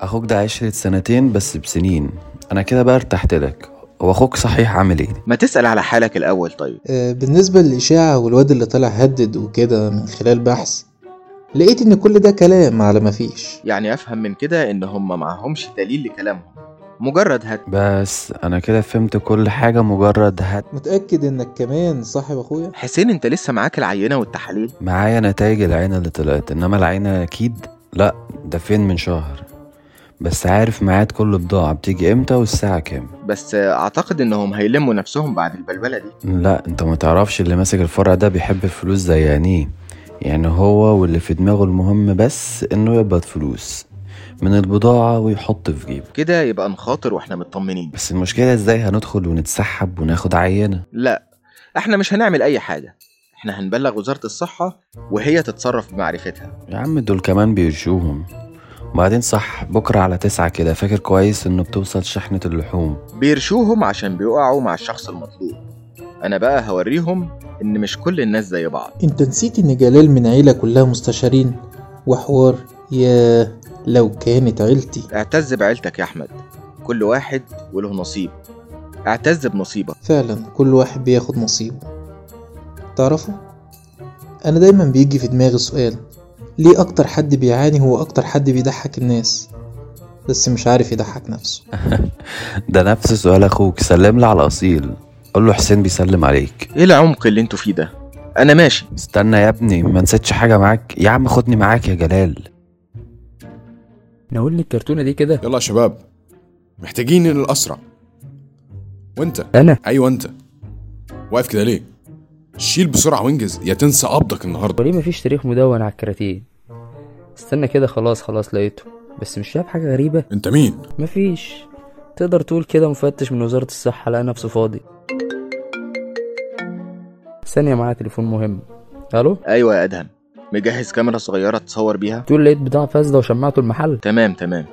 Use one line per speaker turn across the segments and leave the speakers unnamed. أخوك ده عشرة سنتين بس بسنين أنا كده بقى ارتحت لك هو أخوك صحيح عامل إيه؟
ما تسأل على حالك الأول طيب
آه، بالنسبة للإشاعة والواد اللي طلع هدد وكده من خلال بحث لقيت إن كل ده كلام على مفيش
يعني أفهم من كده إن هم معهمش دليل لكلامهم مجرد هد
بس أنا كده فهمت كل حاجة مجرد هات
متأكد إنك كمان صاحب أخويا؟
حسين أنت لسه معاك العينة والتحاليل
معايا نتائج العينة اللي طلعت إنما العينة أكيد لأ ده فين من شهر بس عارف ميعاد كل بضاعة بتيجي إمتى والساعة كام
بس أعتقد إنهم هيلموا نفسهم بعد البلبلة دي
لا انت ما تعرفش اللي ماسك الفرع ده بيحب الفلوس زي عينيه يعني هو واللي في دماغه المهم بس انه يقبض فلوس من البضاعة ويحط في جيبه
كده يبقى نخاطر وإحنا مطمنين
بس المشكلة ازاي هندخل ونتسحب وناخد عينة
لا إحنا مش هنعمل أي حاجة إحنا هنبلغ وزارة الصحة وهي تتصرف بمعرفتها
يا عم دول كمان بيرشوهم وبعدين صح بكرة على تسعة كده فاكر كويس انه بتوصل شحنة اللحوم
بيرشوهم عشان بيقعوا مع الشخص المطلوب أنا بقى هوريهم إن مش كل الناس زي بعض
أنت نسيت إن جلال من عيلة كلها مستشارين وحوار ياه لو كانت عيلتي
اعتز بعيلتك يا أحمد كل واحد وله نصيب اعتز بنصيبك
فعلا كل واحد بياخد نصيبه تعرفوا أنا دايما بيجي في دماغي سؤال ليه أكتر حد بيعاني هو أكتر حد بيضحك الناس بس مش عارف يضحك نفسه
ده نفس سؤال اخوك سلم لي على الاصيل قول له حسين بيسلم عليك
إيه العمق اللي أنتوا فيه ده أنا ماشي
استنى يا ابني ما نسيتش حاجة معاك يا عم خدني معاك يا جلال
ناولني الكرتونة دي كده
يلا يا شباب محتاجين الأسرع وانت
أنا
ايوه انت واقف كده ليه شيل بسرعه وانجز يا تنسى قبضك النهارده
وليه مفيش تاريخ مدون على الكراتين استنى كده خلاص خلاص لقيته بس مش شايف حاجة غريبة
انت مين
مفيش تقدر تقول كده مفتش من وزارة الصحة لقى نفسه فاضي ثانية معايا تليفون مهم ألو
أيوة يا أدهم مجهز كاميرا صغيرة تصور بيها
تقول لقيت بضاعة فاسدة وشمعته المحل
تمام تمام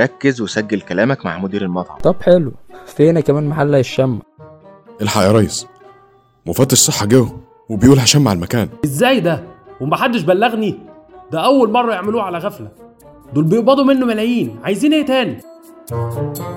ركز وسجل كلامك مع مدير المطعم
طب حلو في هنا كمان محل هيشمع
الحق يا ريس مفتش صحه جه وبيقول هشمع المكان
ازاي ده ومحدش بلغني ده اول مره يعملوه على غفله دول بيقبضوا منه ملايين عايزين ايه تاني